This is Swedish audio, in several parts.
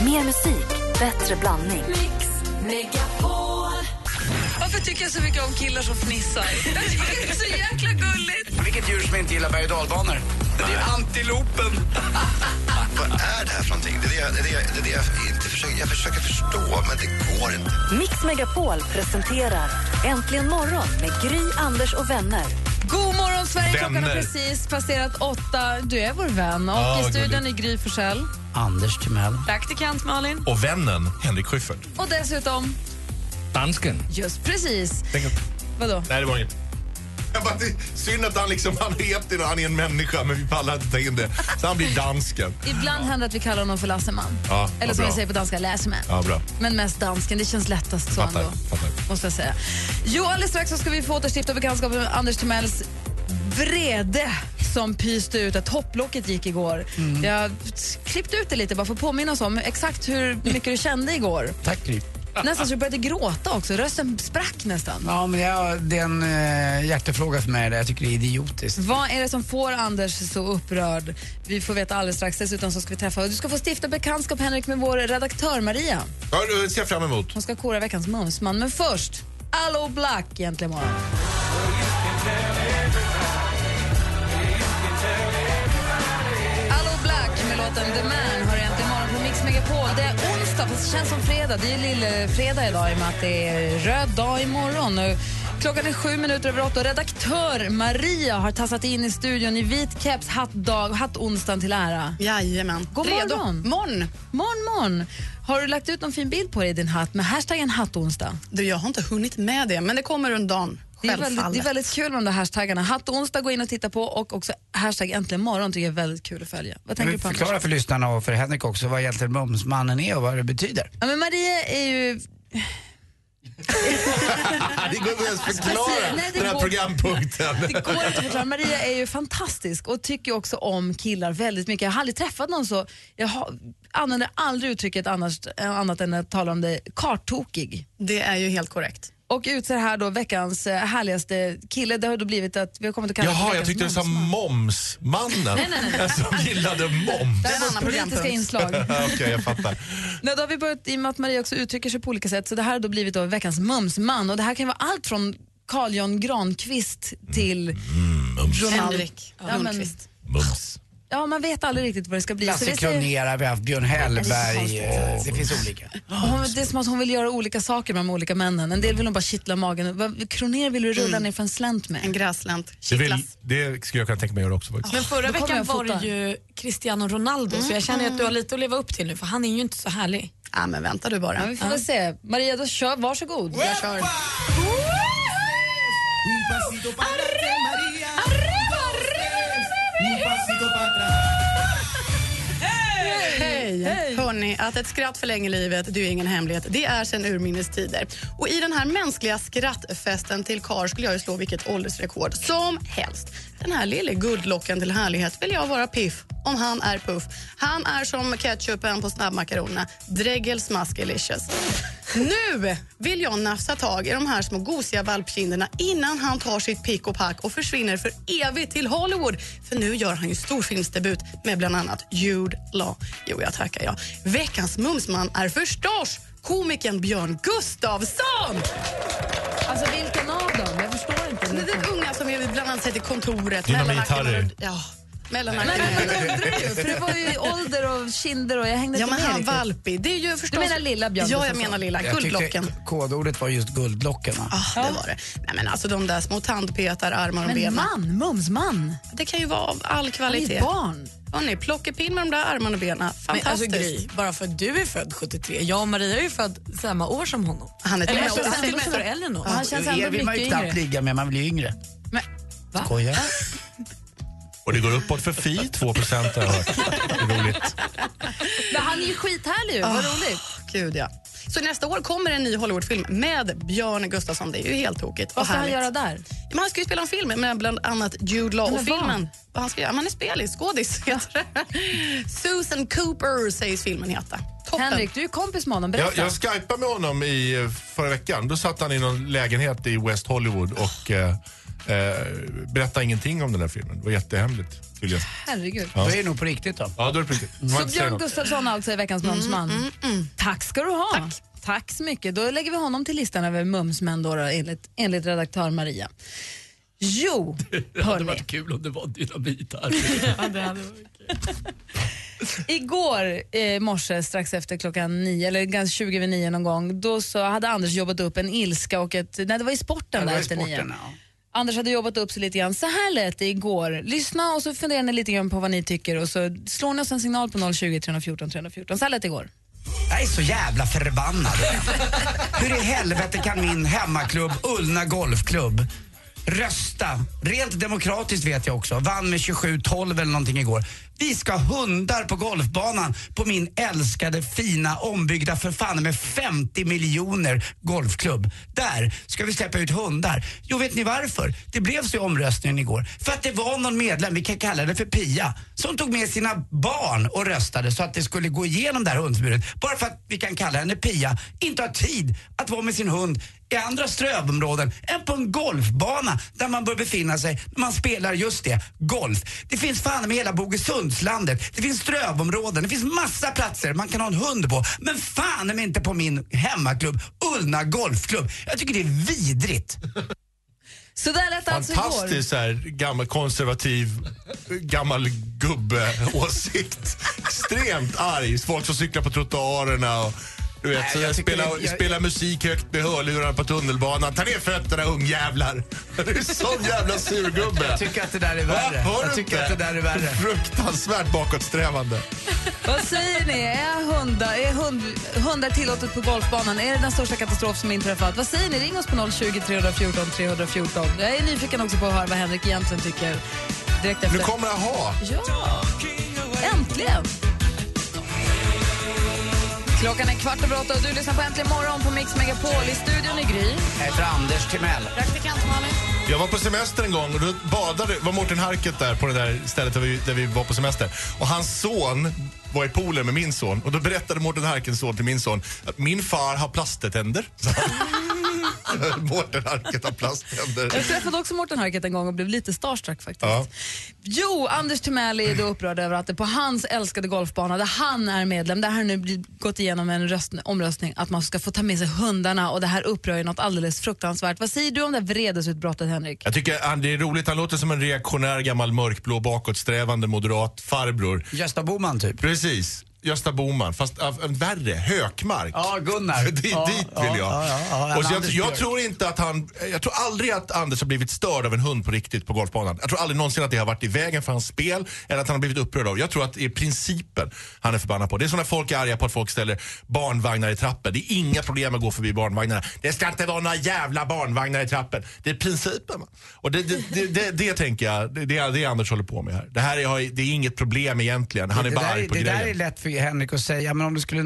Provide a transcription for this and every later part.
Mer musik, bättre blandning. Mix Megapol. Varför tycker jag så mycket om killar som fnissar? Jag tycker det är så jäkla gulligt. Vilket djur som inte gillar berg och dalbanor? Det är antilopen. Vad är det här för någonting? Det är det, jag- det, är det, jag- det, är det jag inte försöker, jag försöker förstå, men det går inte. Mix Megapol presenterar Äntligen morgon med Gry, Anders och vänner. God morgon, Sverige. Klockan har Vänner. precis passerat åtta. Du är vår vän. Och Ja, i studion är gulligt. Gry Forssell. Anders Timell. Praktikant Malin. Och vännen Henrik Schyffert. Och dessutom, Dansken. just precis, Tänk att... vadå? Nej, det var inget. Jag bara, det är synd att han liksom, han är ett han är en människa, men vi pallar inte ta in det. Så han blir dansken. Ibland händer det att vi kallar honom för Lasseman. Ja, vad Eller som bra. jag säger på danska, Lasseman. Ja, bra. Men mest dansken, det känns lättast så Fattar, ändå. fattar. Måste jag säga. Jo, alldeles strax så ska vi få återstifta bekantskapen med Anders Timells vrede som pyste ut att topplocket gick igår. Jag klippte ut det lite bara för att påminna oss om exakt hur mycket du kände igår. Tack, Gry. Nästan så du började gråta också, rösten sprack nästan. Ja, men jag, det är en eh, hjärtefråga för mig. det där. Jag tycker det är idiotiskt. Vad är det som får Anders så upprörd? Vi får veta alldeles strax. Dessutom så ska vi träffa, du ska få stifta bekantskap Henrik med vår redaktör Maria. Ja, det ser jag fram emot. Hon ska kora veckans mumsman, men först Allo Black egentligen morgon. Allo Black med låten The Man har egentligen morgon på Mix Megapol. Det är onsdag, fast det känns som fredag. Det är ju lillfredag idag i och med att det är röd dag imorgon. Och klockan är sju minuter över åtta och redaktör Maria har tassat in i studion i vit keps, hattdag, hattonsdagen till ära. Jajamän. God Redo. morgon. Morgon. Morgon, morgon. Har du lagt ut någon fin bild på dig i din hatt med hashtaggen hattonsdag? Du, jag har inte hunnit med det, men det kommer under dagen. Det är, Självfallet. väldigt, det är väldigt kul med de där hashtaggarna. Hattonsdag, gå in och titta på och också hashtag äntligen morgon tycker jag är väldigt kul att följa. Vad Kan tänker vi du på förklara Anders? för lyssnarna och för Henrik också vad egentligen Mumsmannen är och vad det betyder? Ja, men Maria är ju... Det går inte ens förklara Nej, det den här går- programpunkten. Det går inte att förklara. Maria är ju fantastisk och tycker också om killar väldigt mycket. Jag har aldrig träffat någon så... Jag har, använder aldrig uttrycket annars, annat än att tala om det karttokig. Det är ju helt korrekt. Och utser här då veckans eh, härligaste kille. Det har då blivit att vi har kommit att kalla det för Jaha, jag veckans tyckte du sa mumsman. momsmannen. Som gillade moms. Det här Det är en var annan politiska programpunkt. inslag. Okej, jag fattar. Nej, då har vi börjat i och med att Maria också uttrycker sig på olika sätt så det här har då blivit då veckans mumsman och det här kan vara allt från Carl Jan Granqvist till Ronald. Henrik Ja, men, Lundqvist. Mums. ja, man vet aldrig riktigt vad det ska bli. Så Lasse vi säger, Kronér, vi har haft Björn Hellberg. eh, Det finns olika. hon, det är som att hon vill göra olika saker med de olika männen. En del vill hon bara kittla magen. Vad- Kroner vill du rulla ner för en slänt En med. gräslänt. Det, vill, Kittlas. det skulle jag kunna tänka mig att göra också faktiskt. Men förra Då kommer veckan jag Mm. var fota. det ju Cristiano Ronaldo så jag känner ju att du har lite att leva upp till nu för han är ju inte så härlig. Ja, men vänta du Ja, bara. vi får väl se. Maria, då kör. Varsågod. Jag kör. Hej! Hörni, att ett skratt förlänger livet, det är ju ingen hemlighet. Det är sedan urminnes tider. Och i den här mänskliga skrattfesten till kar skulle jag ju slå vilket åldersrekord som helst. Den här lille guldlocken till härlighet vill jag vara piff om han är puff. Han är som ketchupen på snabbmakaronerna. Dregel smaskelicious. Nu vill jag nafsa tag i de här små gosiga valpkinderna innan han tar sitt pick och pack och försvinner för evigt till Hollywood. För nu gör han ju storfilmsdebut med bland annat Jude Law. Jo, jag tackar jag. Veckans mumsman är förstås komikern Björn Gustafsson! Alltså vilken av dem? Jag förstår Det är inte. den unga som vi bland annat sett i kontoret. Dynamit-Harry. mellan mackorna. Ja, mellan Men mackorna. man undrar ju, för det var ju ålder och kinder och jag hängde Ja, inte men med han riktigt. valpig. Det är ju förstås... menar lilla Björn Ja, jag Gustafsson? menar lilla. Jag tyckte Guldlocken. kodordet var just guldlocken. Va? Ah, det var det. Nej, men alltså de där små tandpetar, armar och Men ben. man, mumsman. Det kan ju vara av all Han är ju kvalitet. ett barn. Hörrni, plockepinn med de där armarna och benen. Men alltså Fantastiskt. Gry, bara för att du är född 73, jag och Maria är ju född samma år som honom. Han är Eller till jag och med- tror till och med före Elinor. Han känns er ändå vill man ju mycket knappt yngre. ligga med, man blir ju yngre. Men, va? Skojar. Och det går uppåt för Fi 2 procent har jag hört. Det är roligt. Men han är ju skithärlig ju, Ah, vad roligt. Gud, ja. Så nästa år kommer en ny Hollywoodfilm med Björn Gustafsson. Det är ju helt tokigt. Vad och ska han härligt. göra där? Men han ska ju spela en film med bland annat Jude Law. Men Och vad? filmen, vad han, ska göra, han är spelis, skådis. heter det. Susan Cooper sägs filmen heta. Toppen. Henrik, du är kompis med honom. Jag, Berätta. jag skypade med honom i eh, förra veckan. Då satt han i någon lägenhet i West Hollywood och eh, eh, berättade ingenting om den här filmen. Det var jättehemligt tydligen. Herregud. Då är det nog på riktigt då. Ja, då är det riktigt. Man får Så inte säga Björn något. Gustafsson alltså är veckans Mumsman. Tack ska du ha. mm. Tack. så mycket. Då lägger vi honom till listan över Mumsmän då, då enligt, enligt redaktör Maria. Jo, hörni. Kul om det var dynamit här. Igår eh, morse strax efter klockan nio, eller ganska 20 över nio någon gång, då så hade Anders jobbat upp en ilska och ett, nej det var i sporten där var i efter nio. sporten, ja. Anders hade jobbat upp sig lite grann. Så här lät det igår. Lyssna och så funderar ni lite grann på vad ni tycker och så slår ni oss en signal på 020 314 314. Så här lät det igår. Jag är så jävla förbannad. Hur i helvete kan min hemmaklubb Ullna Golfklubb rösta, rent demokratiskt vet jag också, vann med 27-12 eller någonting igår. Vi ska ha hundar på golfbanan på min älskade fina ombyggda för fan med 50 miljoner golfklubb. Där ska vi släppa ut hundar. Jo, vet ni varför? Det blev så i omröstningen igår. För att det var någon medlem, vi kan kalla det för Pia, som tog med sina barn och röstade så att det skulle gå igenom det här hundförbudet. Bara för att vi kan kalla henne Pia, inte har tid att vara med sin hund i andra strövområden än på en golfbana där man bör befinna sig när man spelar just det, golf. Det finns fan med hela Bogesundslandet, det finns strövområden, det finns massa platser man kan ha en hund på. Men fan är inte på min hemmaklubb Ullna Golfklubb. Jag tycker det är vidrigt. Så där lät det alltså igår. Fantastiskt så här, gammal, konservativ, gammal gubbe-åsikt. Extremt arg. Folk som cyklar på trottoarerna och du vet, Nej, så jag där, tycker spela, det- jag- spela musik högt med hörlurarna på tunnelbanan. Ta ner fötterna ungjävlar. Du är en sån jävla surgubbe. Jag tycker att det där är Va? värre. Hör Jag du tycker inte? att det där är värre. Fruktansvärt bakåtsträvande. Vad säger ni? Är, hundar, är hund, hundar tillåtet på golfbanan? Är det den största katastrof som inträffat? Vad säger ni? Ring oss på 020 314 314. Jag är nyfiken också på att höra vad Henrik egentligen tycker. Direkt efter. Nu kommer jag ha. Ja! Äntligen! Klockan är kvart över åtta och du lyssnar på Äntligen morgon på Mix Megapol. I studion i Gry. Jag heter Anders Timell. Jag var på semester en gång och då badade, var Mårten Harket där på det där stället där vi, där vi var på semester. Och hans son var i poolen med min son och då berättade Mårten Harkens son till min son att min far har plasttänder. sa han. Mårten Harket har Jag plasttänder. träffade också Mårten Harket en gång och blev lite starstruck faktiskt. Ja. Jo, Anders Timell är då upprörd över att det på hans älskade golfbana, där han är medlem, där har det nu blivit- gått igenom en röst, omröstning att man ska få ta med sig hundarna och det här upprör ju något alldeles fruktansvärt. Vad säger du om det här vredesutbrottet Henrik? Jag tycker han, det är roligt, han låter som en reaktionär gammal mörkblå bakåtsträvande moderat farbror. Gösta Bohman typ. Precis, Gösta Bohman, fast äh, värre, Hökmark. Ja, Gunnar. dit, ja, dit ja, vill jag. Ja, ja, ja, och så jag, Anders jag Björk. tror inte att han, jag tror aldrig att Anders har blivit störd av en hund på riktigt på golfbanan. Jag tror aldrig någonsin att det har varit i vägen för hans spel eller att han har blivit upprörd av. Jag tror att det är principen han är förbannad på. Det är som när folk är arga på att folk ställer barnvagnar i trappor. Det är inga problem att gå förbi barnvagnarna. Det ska inte vara några jävla barnvagnar i trappen. Det är principen. va? Och det, det, det, det, det tänker jag, det, det är det Anders håller på med här. Det här är, det är inget problem egentligen. Han är det bara där, arg är- på det där är grejen. lätt för Henrik att säga, men om det skulle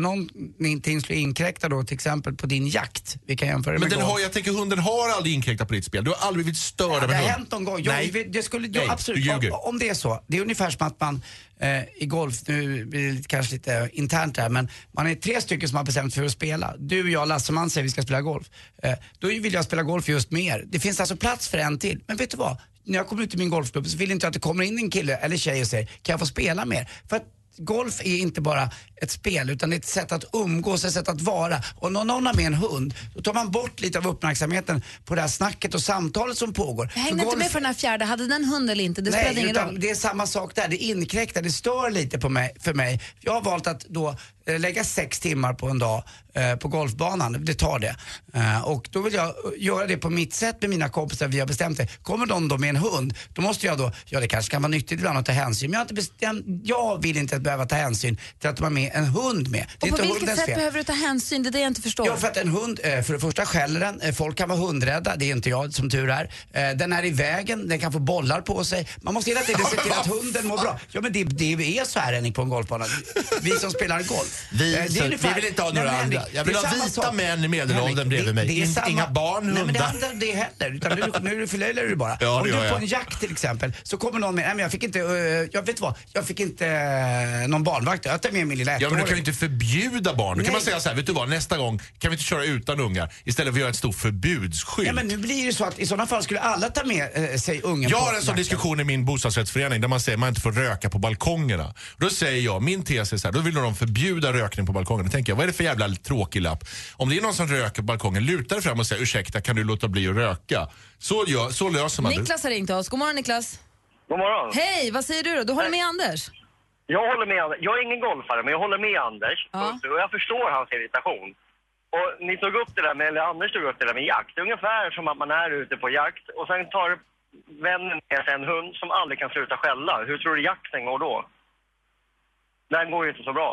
någonting skulle inkräkta då till exempel på din jakt, vi kan jämföra det Men med den golf. har, jag tänker hunden har aldrig inkräktat på ditt spel. Du har aldrig blivit störd av Det en har hund. hänt någon gång. Jag, Nej. Det skulle, jag, Nej, absolut. du om, ljuger. om det är så. Det är ungefär som att man eh, i golf, nu blir det lite- kanske lite internt här, men man är tre stycken som har bestämt sig för att spela. Du, jag, Lasse man säger vi ska spela golf. Eh, då vill jag spela golf just med er. Det finns alltså plats för en till. Men vet du vad? När jag kommer ut i min golfklubb så vill inte jag att det kommer in en kille eller tjej och säger kan jag få spela med er? För att Golf är inte bara ett spel utan det är ett sätt att umgås, ett sätt att vara. Och när någon har med en hund, då tar man bort lite av uppmärksamheten på det här snacket och samtalet som pågår. Jag För hängde inte golf- med på den här fjärde, hade den hund eller inte? Det spelade Nej, ingen utan roll. det är samma sak där. Det inkräktar, det stör lite på mig, för mig. Jag har valt att då eh, lägga sex timmar på en dag eh, på golfbanan, det tar det. Eh, och då vill jag eh, göra det på mitt sätt med mina kompisar, vi har bestämt det. Kommer de då med en hund, då måste jag då, ja det kanske kan vara nyttigt ibland att ta hänsyn, men jag, har inte bestämt, jag vill inte behöva ta hänsyn till att de har med en hund med. Det är Och på inte vilket hundens sätt fel. behöver du ta hänsyn? Det är det jag inte förstår. Ja, för att en hund, eh, för det första skäller den, Eh, folk kan vara hundrädda, det är inte jag som tur är. Eh, Den är i vägen, den kan få bollar på sig. Man måste hela tiden se till att hunden mår bra. Ja men det, det är så här Henrik på en golfbana, vi som spelar golf. Vi, Eh, det är så, ungefär- vi vill inte ha Nej, några men Henrik, andra. Jag det vill är ha samma vita sak. män i medelåldern Henrik, bredvid mig. det är In, samma- Inga barn, Nej, men det hundar. handlar inte det heller. Utan nu, nu förlöjligar du bara. Ja, det Om du gör är på jag. en jakt till exempel så kommer någon med, nej men jag fick inte, eh, jag vet vad, jag fick inte eh, någon barnvakt. Jag tar med min lilla Ja, men du kan ju ettåring. inte förbjuda barn. Då kan Nej. man säga så här, vet du vad, nästa gång kan vi inte köra utan ungar istället för att göra ett stort förbudsskydd. Ja, men nu blir det så att i sådana fall skulle alla ta med eh, sig ungen Jag på har en sån jakten. diskussion i min bostadsrättsförening där man säger att man inte får röka på balkongerna. Då säger jag, min tes är så här, då vill de förbjuda rökning på balkongen. Då tänker jag, vad är det för jävla tråkig lapp? Om det är någon som röker på balkongen, luta dig fram och säg ursäkta, kan du låta bli att röka? Så, gör, så löser man det. Niklas har ringt oss. God morgon Niklas. God morgon. Hej, vad säger du då? Du håller med Anders? Jag håller med. Jag är ingen golfare, men jag håller med Anders. Ja. Fullt ut. Och jag förstår hans irritation. Och ni tog upp det där med, eller Anders tog upp det där med jakt. Det är ungefär som att man är ute på jakt och sen tar vännen med sig en hund som aldrig kan sluta skälla. Hur tror du jakten går då? Den går ju inte så bra.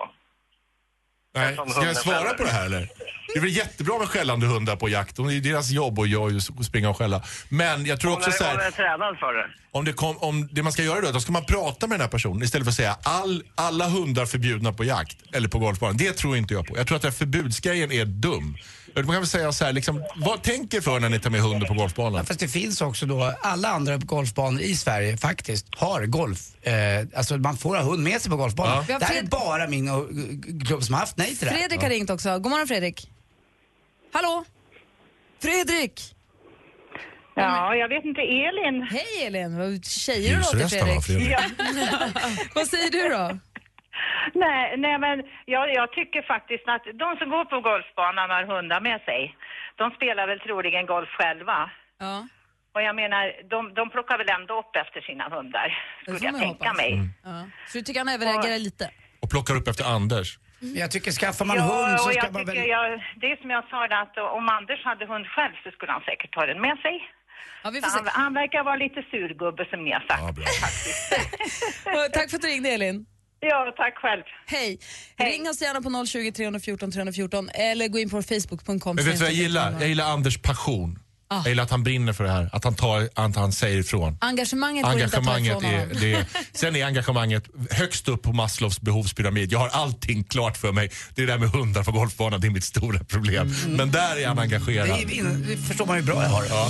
Nej. som Ska jag hunden svara skäller. på det här eller? Det är väl jättebra med skällande hundar på jakt. Det är ju deras jobb att jag att springa och skälla. Men jag tror Hon också är, så hon här, är tränad för det. om det, kom, om det man ska göra då, då ska man prata med den här personen istället för att säga all, alla hundar förbjudna på jakt eller på golfbanan. Det tror inte jag på. Jag tror att den här förbudsgrejen är dum. Man kan väl säga så här, liksom, vad tänker för när ni tar med hunden på golfbanan? Fast det finns också då, alla andra golfbanor i Sverige faktiskt har golf. Eh, alltså man får ha hund med sig på golfbanan. Ja. Det här är Fred- bara min och- g- klubb som har haft nej till det här. Fredrik har ringt också. God morgon Fredrik. Hallå? Fredrik! Ja, jag vet inte. Elin? Hej Elin! Vad tjejer du låter Fredrik. Vad säger du då? Nej, nej men jag, jag tycker faktiskt att de som går på golfbanan och har hundar med sig, de spelar väl troligen golf själva. Ja. Och jag menar, de, de plockar väl ändå upp efter sina hundar, Det skulle får jag man tänka hoppas. Mm. mig. ja. Så du tycker han överreagerar lite? Och plockar upp efter Anders. Men Jag tycker skaffar man hund Ja, så och ska jag man väl... tycker jag, det är som jag sa, där, att om Anders hade hund själv så skulle han säkert ta den med sig. Ja, vi Så får se. han, han verkar vara lite surgubbe som ni har sagt. Ja, bra. Eh, Tack för att du ringde Elin. Ja, tack själv. Hej. Ring oss gärna på 020 314 314 eller gå in på facebook.com. Men vet du vad jag gillar? Jag gillar Anders passion. Ah. Jag gillar att han brinner för det här, att han, tar, att han säger ifrån. Engagemanget, går Engagemanget inte att ta ifrån är, honom. det är, sen är engagemanget högst upp på Maslows behovspyramid. Jag har allting klart för mig. Det är det där med hundar på golfbanan, det är mitt stora problem. Men där är han Mm. Det, engagerad. är, in- det förstår man ju bra jag har. Ja.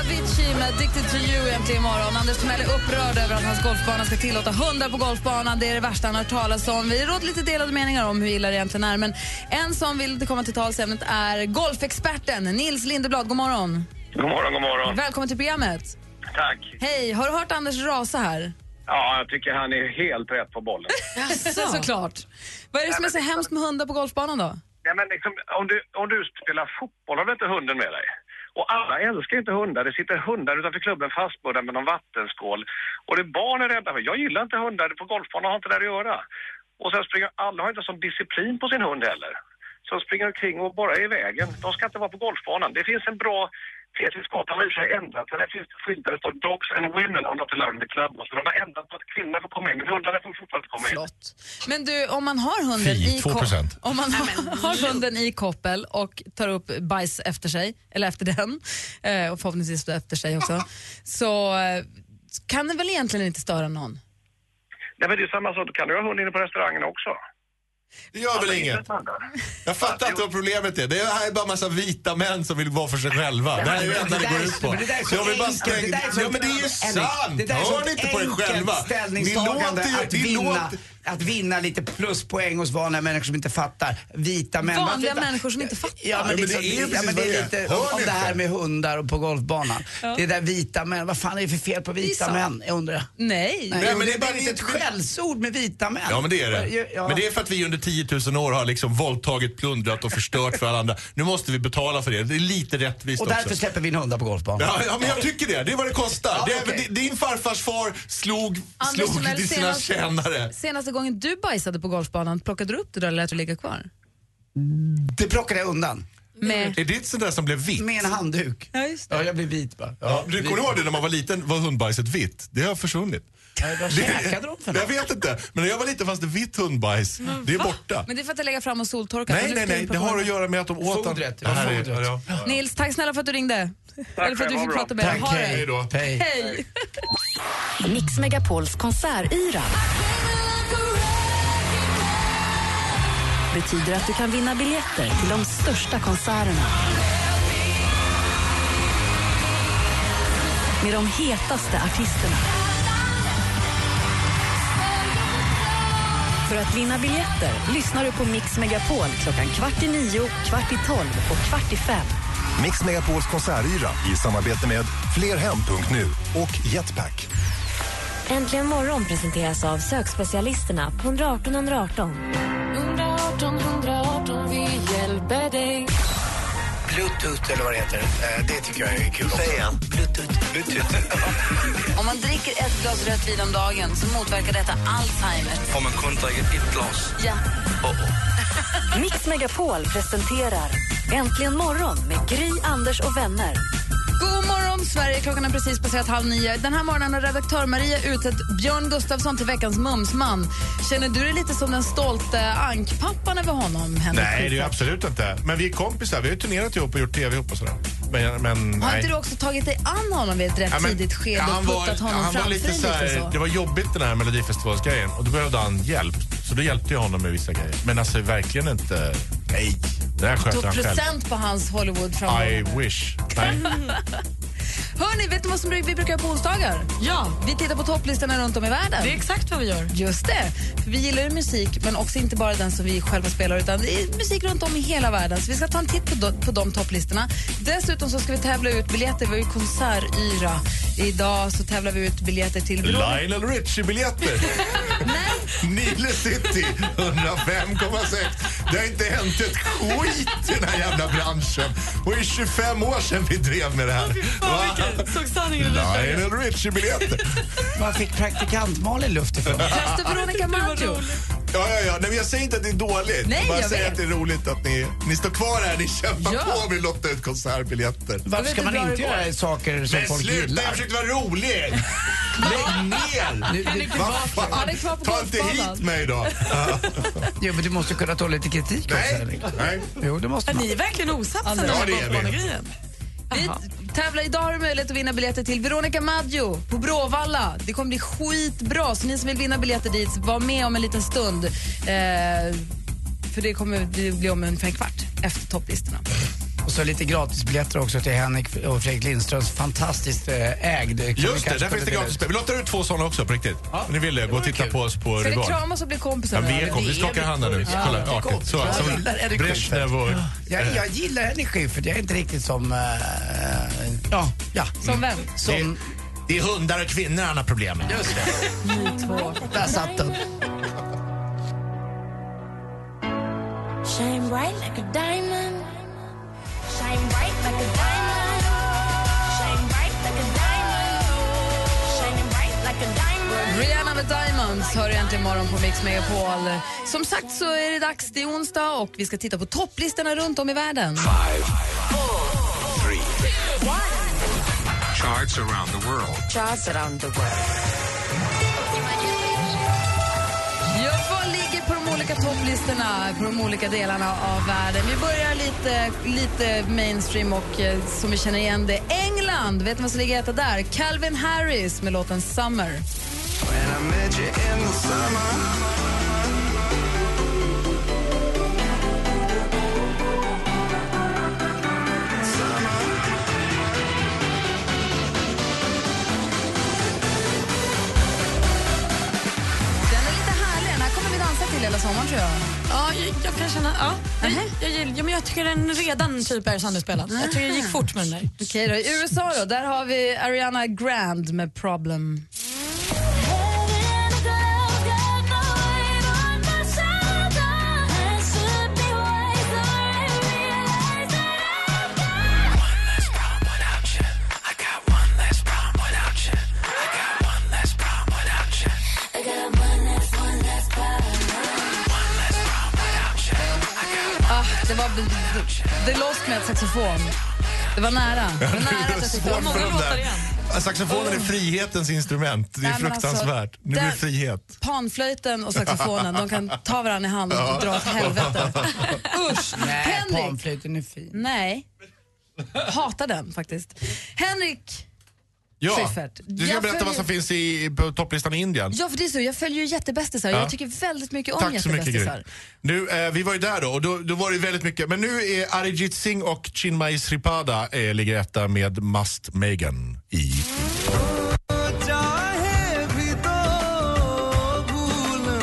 Avicii med Addicted to you äntligen imorgon. Anders Timell är upprörd över att hans golfbana ska tillåta hundar på golfbanan. Det är det värsta han har hört talas om. Vi råder lite delade meningar om hur illa det egentligen är. Men en som vill komma till tals i ämnet är golfexperten Nils Lindeblad. God morgon. God morgon, god morgon. Välkommen till programmet. Tack. Hej, har du hört Anders rasa här? Ja, jag tycker han är helt rätt på bollen. Så. Såklart. Vad är det som är så hemskt med hundar på golfbanan då? Nej, men liksom, om, du, om du spelar fotboll har du inte hunden med dig. Och alla älskar inte hundar. Det sitter hundar utanför klubben fastbundna med någon vattenskål. Och det barn är rädda för. Jag gillar inte hundar. På golfbanan har inte där att göra. Och sen springer alla har inte sån disciplin på sin hund heller. Så de springer omkring och bara är i vägen. De ska inte vara på golfbanan. Det finns en bra etisk kod. De har i och för sig ändrat den. Det finns skyltar där det står Dogs and Women on not allowed in the club. Och så de har ändrat på att kvinnor får komma in. Men hundarna får fortfarande komma in. Flott. Men du, om man har hunden, Fy, i, 2%. om man har, har hunden i koppel och tar upp bajs efter sig, eller efter den, eh, och förhoppningsvis efter sig också, så eh, kan den väl egentligen inte störa någon? Nej, men det är samma sak. Då kan du ha hund inne på restaurangen också. Det gör väl inget? Jag fattar inte vad problemet är. Det här är bara massa vita män som vill vara för sig själva. Det här är det enda det går ut på. Men det där är så Jag vill bara enkelt. Det där spränga... är så- Ja men det är ju Henrik, sant! det där är så Hör ni inte på er enkelt själva? Ni ställningstagande låter ju... att Ni vinna, låter... att vinna lite pluspoäng hos vanliga människor som inte fattar. Vita män. varför Vanliga inte- människor som inte fattar. Ja, men, men liksom, det är ju ja, precis men vad det det är är. lite Hör om ni det här inte? med hundar och på golfbanan. Det där vita män, vad fan är det för fel på vita sant. män? Jag undrar. Nej. Nej, men men det det är är bara bara inte ett lite- skällsord med vita män. Ja men det är Ja, det. ja. Men det är för att vi under 10 000 år har liksom våldtagit, plundrat och förstört för alla andra. Nu måste vi betala för det. Det är lite rättvist och också. därför släpper vi in hundar på golfbanan. Ja, ja, men jag tycker det. Det är vad det kostar. Ja, det, okej. din- Din farfars far slog, Anders slog Timell, till sina senast- tjänare. Senaste gången du bajsade på golfbanan, plockade du upp det då eller lät du ligga kvar? Det plockar jag undan. med... Är ditt sånt där som blev vitt? Med en handduk. Ja, just Ja, jag blev vit bara. Ja, du kommer ihåg det när man var liten var hundbajset vitt? Det har försvunnit. Vad käkade de för Jag något? vet inte, men när jag var liten fanns det vitt hundbajs. Det är Va? borta. Men det är för att lägga fram och soltorka. Nej, Nu nej, ska nej. in på Det har morgonen. att göra med att de åt... Fodret, Det här är- fodret. ja. Nils, tack snälla för att du ringde. Eller för att du själv, fick ha prata med Tack, dig. Ha det. hej. då. Hej. Hej! Mix Megapols konsertyra. Betyder att du kan vinna biljetter till de största konserterna. Med de hetaste artisterna. För att vinna biljetter lyssnar du på Mix Megapol klockan kvart i nio, kvart i tolv och kvart i fem. Mix Megapols konsertyra i samarbete med flerhem.nu och Jetpack. Äntligen morgon presenteras av sökspecialisterna på 118 118. 118 118, vi hjälper dig. Bluetooth eller vad det heter. Eh, Det tycker jag är kul också. Säg igen. Bluetooth. Om man dricker ett glas rött vin om dagen så motverkar detta Alzheimer. Om man kun drikke et glas. Ja. Mix Megapol presenterar Äntligen morgon med Gry, Anders och vänner. God morgon, Sverige. Klockan har precis passerat halv nio. Den här morgonen har redaktör Maria utsett Björn Gustafsson till veckans mumsman. Känner du dig lite som den stolte ankpappan över honom, Henrik? Nej, det är ju Schyffert? absolut inte. Men vi är kompisar. Vi har ju turnerat ihop och gjort tv ihop och sådär. Men, men Har nej. inte du också tagit dig an honom vid ett rätt Ja, men- tidigt skede ja, och puttat honom han var framför dig lite så här, lite så? Det var jobbigt den här melodifestivalsgrejen och då behövde han hjälp. Så då hjälpte jag honom med vissa grejer. Men alltså verkligen inte... Nej, det här Du sköter tog han själv. present på hans hollywood I wish. Nej. Hörni, vet ni vad som vi brukar göra på onsdagar? Ja. Vi tittar på topplistorna runt om i världen. Det är exakt vad vi gör. Just det. För vi gillar ju musik, men också inte bara den som vi själva spelar utan det är musik runt om i hela världen. Så vi ska ta en titt på de, på de topplistorna. Dessutom så ska vi tävla ut biljetter. Vi har ju konsertyra. Idag så tävlar vi ut biljetter till Veronica- Lionel Richie-biljetter. Nile City 105,6. Det har inte hänt ett skit i den här jävla branschen. Och det är 25 år sedan vi drev med det här. Va? Såg sanningen ut. Lionel Richie-biljetter. Man fick praktikant Malin luft ifrån. Testa Veronica Maggio. Ja, ja, ja. Nej, men jag säger inte att det är dåligt. Nej, jag bara jag säger vet. att det är roligt att ni, ni står kvar här. Ni kämpar på med att lotta ut konsertbiljetter. Varför ska man inte göra saker som Men folk sluta, gillar? jag försökte vara rolig! Lägg ner! Nu- Henrik, Vad du- fan? Han är kvar på Ta inte golfbanan. hit mig då! Jo, men du måste kunna ta lite kritik också, Henrik. Nej. Jo, det måste Ja, man. Ni är verkligen osams. Anders. den här Ja, det är vi. golfbanegrejen. Vi Jaha. tävlar idag har du möjlighet att vinna biljetter till Veronica Maggio på Bråvalla. Det kommer bli skitbra, så ni som vill vinna biljetter dit, var med om en liten stund. Eh, för det kommer det bli om ungefär en kvart efter topplistorna. Och så lite gratisbiljetter också till Henrik och Fredrik Lindströms fantastiskt eh, ägd. Just det, där finns det gratis Vi låter ut två sådana också på riktigt. Om ni vill det, gå och titta på oss på Ska ni Rival. kramas och bli kompisar? Ja, vi är eller? kompis. Vi skakar hand här nu. Ja, Kolla, vi är artigt. Så, kompisar. som Jag gillar Henrik Brezhnev och... eh, Jag, jag gillar Henrik Schyffert, jag är inte riktigt som... eh, ja, ja. Som vem? Som... Det är hundar och kvinnor han har problem med. Just det. Ni två. Där satt den. Shine bright like a diamond. Shine bright like a diamond. Shine bright like a diamond. Shine bright like a diamond. Rihanna med Diamonds hör äntligen imorgon på Mix Megapol. Som sagt så är det dags, det är onsdag och vi ska titta på topplistorna runt om i världen. Five, three, charts around the world. Ja, vad ligger på de olika topplistorna på de olika delarna av världen? Vi börjar lite, lite mainstream och eh, som vi känner igen det. England, vet ni vad som ligger etta där? Calvin Harris med låten Summer. Den är lite härlig, den här kommer vi dansa till hela sommaren tror jag. Ja, jag, jag kan känna... Ja, jag, jag, gillar- ja, men jag tycker den redan typ är sönderspelad. Jag tycker det Ah. gick fort med den där. Okej då, i USA då, där har vi Ariana Grande med Problem. I Ah, det var The Lost med ett saxofon. Det var nära. Det var nära att jag tyckte det var många låtar igen. Oh. Saxofonen är frihetens instrument. Det är Nej, men alltså, fruktansvärt. nu blir där- det frihet. Panflöjten och saxofonen, de kan ta varandra i handen och dra åt helvete. Usch! Nej, Henrik! panflöjten är fin. Nej. Hatar den faktiskt. Henrik! Ja, Schyffert. du ska Jag berätta vad följer- som finns i, på topplistan i Indien. Ja, för det är så. Jag följer ju jättebästisar. Ja. Jag tycker väldigt mycket om Tack så mycket Gry. jättebästisar. Nu, eh, vi var ju där då och då, då var det väldigt mycket. Men nu är Arijit Singh och Chinmay Sripada eh, ligger etta med Must Megan i.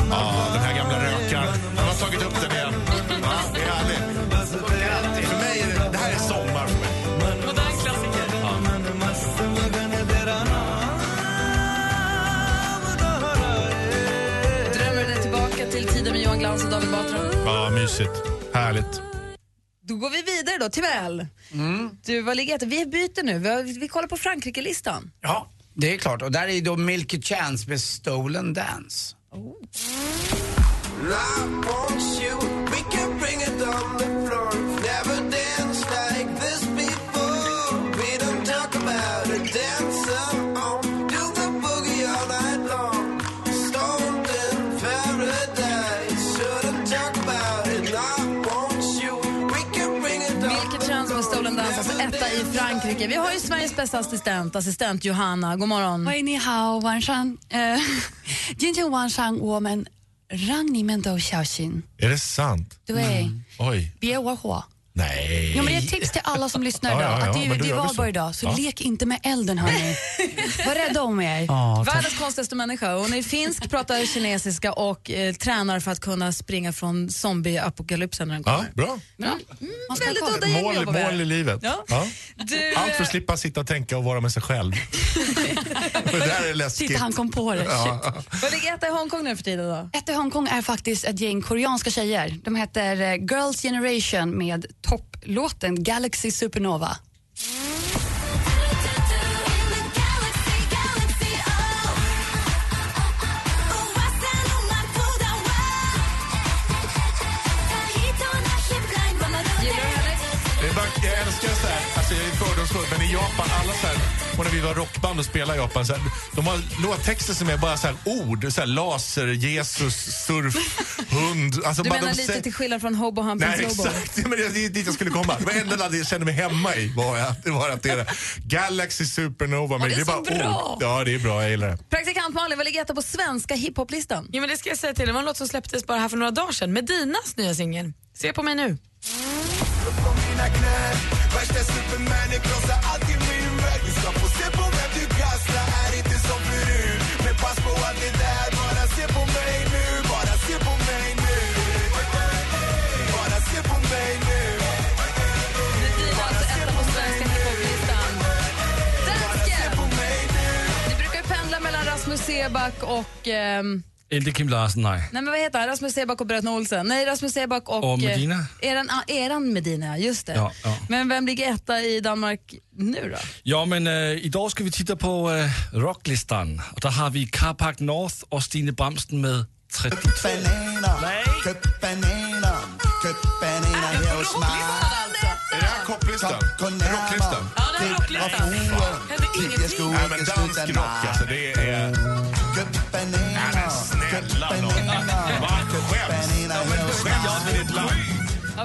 Ja, den här gamla rökaren. Han har tagit upp den igen. Ja, det är härligt. För mig, är det- det här är sommar för mig. Modern klassiker. Drömmer dig tillbaka till tiden med Johan Glans och David Batra. Ja, mysigt. Härligt. Då går vi vidare då till väl. Du, vad ligger det? Vi byter nu. Vi, har, vi kollar på Frankrike-listan. Ja, det är klart. Och där är ju då Milky Chance med Stolen Dance. Vilket chans med Stolen Dance, alltså etta i Frankrike. Vi har ju Sveriges bästa assistent, assistent Johanna. God morgon. 喂，你好，晚上， 呃，今天晚上我们让你们都小心， Är det sant? 对，Mm. Oj. 别玩火。 Nej. Ja, men det är ett tips till alla som lyssnar Ja, idag. ja, ja, att det, är- men då det är gör vi valborg så. idag, så Ja. lek inte med elden hörni. Var rädda om er. Världens konstigaste människa. Hon är finsk, pratar kinesiska och eh, tränar för att kunna springa från zombieapokalypsen när den Ja, kommer. bra. Mm. Man Väldigt kolla. udda gäng vi Mål, jobbar med. mål i livet. Ja. Ja. Du, Allt eh, för att slippa sitta och tänka och vara med sig själv. det här är läskigt. Titta, han kom på det. Ja. vad ligger etta i Hongkong nu för tiden då? Ett i Hongkong är faktiskt ett gäng koreanska tjejer. De heter eh, Girls Generation med topplåten Galaxy Supernova. Det är bara, jag älskar så här, alltså jag är fördomsfull, men i Japan, alla så här, och när vi var rockband och spelade i Japan, så här, de har låttexter som är bara så här ord, så här laser, Jesus, surf, hund. Alltså Du bara menar de lite säger- till skillnad från Hobo Hampus Nej, Lobo? exakt. Men det det är dit jag skulle komma. Det var enda landet jag kände mig hemma i var att det var att det är det. Galaxy Supernova. Men Ja, det är bara så bra. ord. Ja, det är bra. Jag gillar det. Praktikant Malin, vad ligger etta på svenska hiphoplistan? Ja, men det ska jag säga till. Det var en låt som släpptes bara här för några dagar sedan. Medinas nya singel. Se på mig nu. alltså Ni brukar ju pendla mellan Rasmus Seback och... ehm, Inte Kim Larsen, nej. nej men vad heter han? Rasmus Seback och Bröderna Olsen? Nej, Rasmus Seback och... Och Medina. eh, Eran, ah, eran Medina, ja, just det. Ja, ja. Men vem ligger etta i Danmark nu då? Ja, men eh, idag ska vi titta på eh, rocklistan. Och där har vi Carpark North och Stine Bramsen med 32. Ah, Är det här kopplistan? Rocklistan? Ja, det är Typ rocklistan. Händer ingenting. Nej, men dansk rock alltså. Det är... Nej, men snälla nån. Vad skäms? Ja, men skäms för ditt land.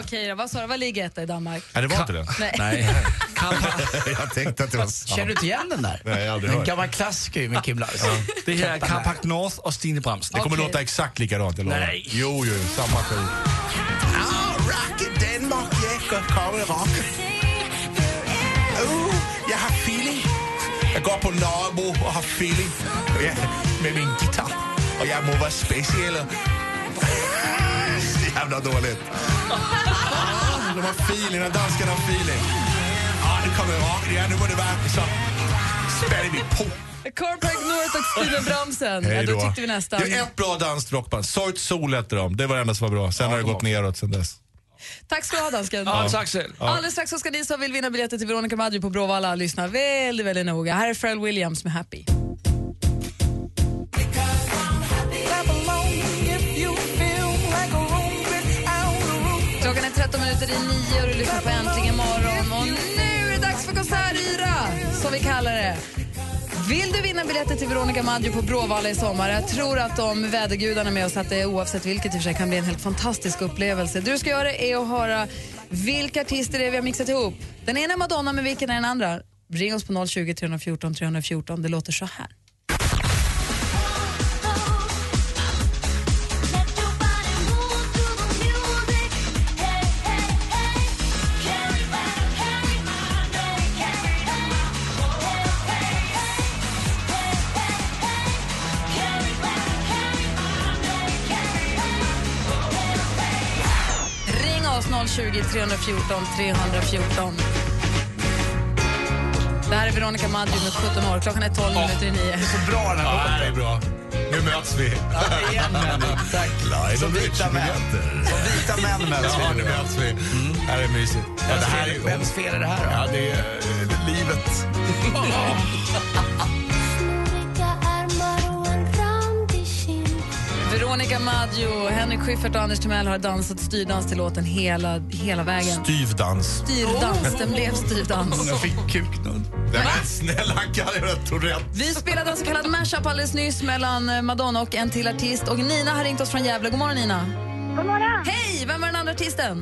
Okej då, vad sa du? Vad ligger etta i Danmark? Nej, det var inte den. Nej. jag tänkte att det var sant. Känner du inte igen den där? Nej, jag har aldrig En hört. gammal klassiker ju med Kim Larsen. Det här är Carpark North och Stine Bramsen. Det kommer låta exakt likadant, jag lovar. Nej. Jo, jo, samma skit. Ah, Rock i Danmark, ja, godt kommet rock. Uh, jag har feeling. Jag går på Norrbo och har feeling. Och jag, med min gitarr. Och jag må vara speciell. Så jävla dåligt. De har Ah, feeling, de danskarna har feeling. Ja, nu kommer rocken igen. Nu må det vara så. Spänner vi på. Carpark North och Stine Bramsen. Ja, då tyckte vi nästan. Det är ett bra danskt rockband. Soit Sol hette de. Det var det enda som var bra. Sen har det gått neråt sen dess. Tack ska du ha dansken. Ja, tack själv. Ja. Alldeles strax så ska ni som vill vinna biljetter till Veronica Maggio på Bråvalla lyssna väldigt, väldigt noga. Här är Pharrell Williams med Happy. Klockan är 13 minuter i nio och du lyssnar på Äntligen morgon. Och nu är det dags för konsertyra, som vi kallar det. Vill du vinna biljetter till Veronica Maggio på Bråvalla i sommar? Jag tror att om vädergudarna är med oss att det oavsett vilket i och för sig kan bli en helt fantastisk upplevelse. Det du ska göra är att höra vilka artister det är vi har mixat ihop. Den ena är Madonna, men vilken är den andra? Ring oss på 020 314 314. Det låter så här. Ring oss 020 314 314. Det här är Veronica Maggio med 17 år. Klockan är 12 minuter i 9. Så bra den Ja, det här är bra. Nu möts vi. igen, Tack. Live Som and vita rich män. biljetter. Som vita män möts vi Ja, nu. nu möts vi. Det här är mysigt. Ja, det här är... Vems fel är det här då? Ja, det är eh, livet. Veronica Maggio, Henrik Schyffert och Anders Timell har dansat styrdans till låten hela, hela vägen. Styvdans. Oh. Styrdans, den blev styrdans. Jag fick kuknudd. Nej, men snälla Karin, jag tror rätt. Vi spelade en så kallad mashup alldeles nyss mellan eh, Madonna och en till artist. Och Nina har ringt oss från Gävle. God morgon Nina. God morgon! Hej! Vem var den andra artisten?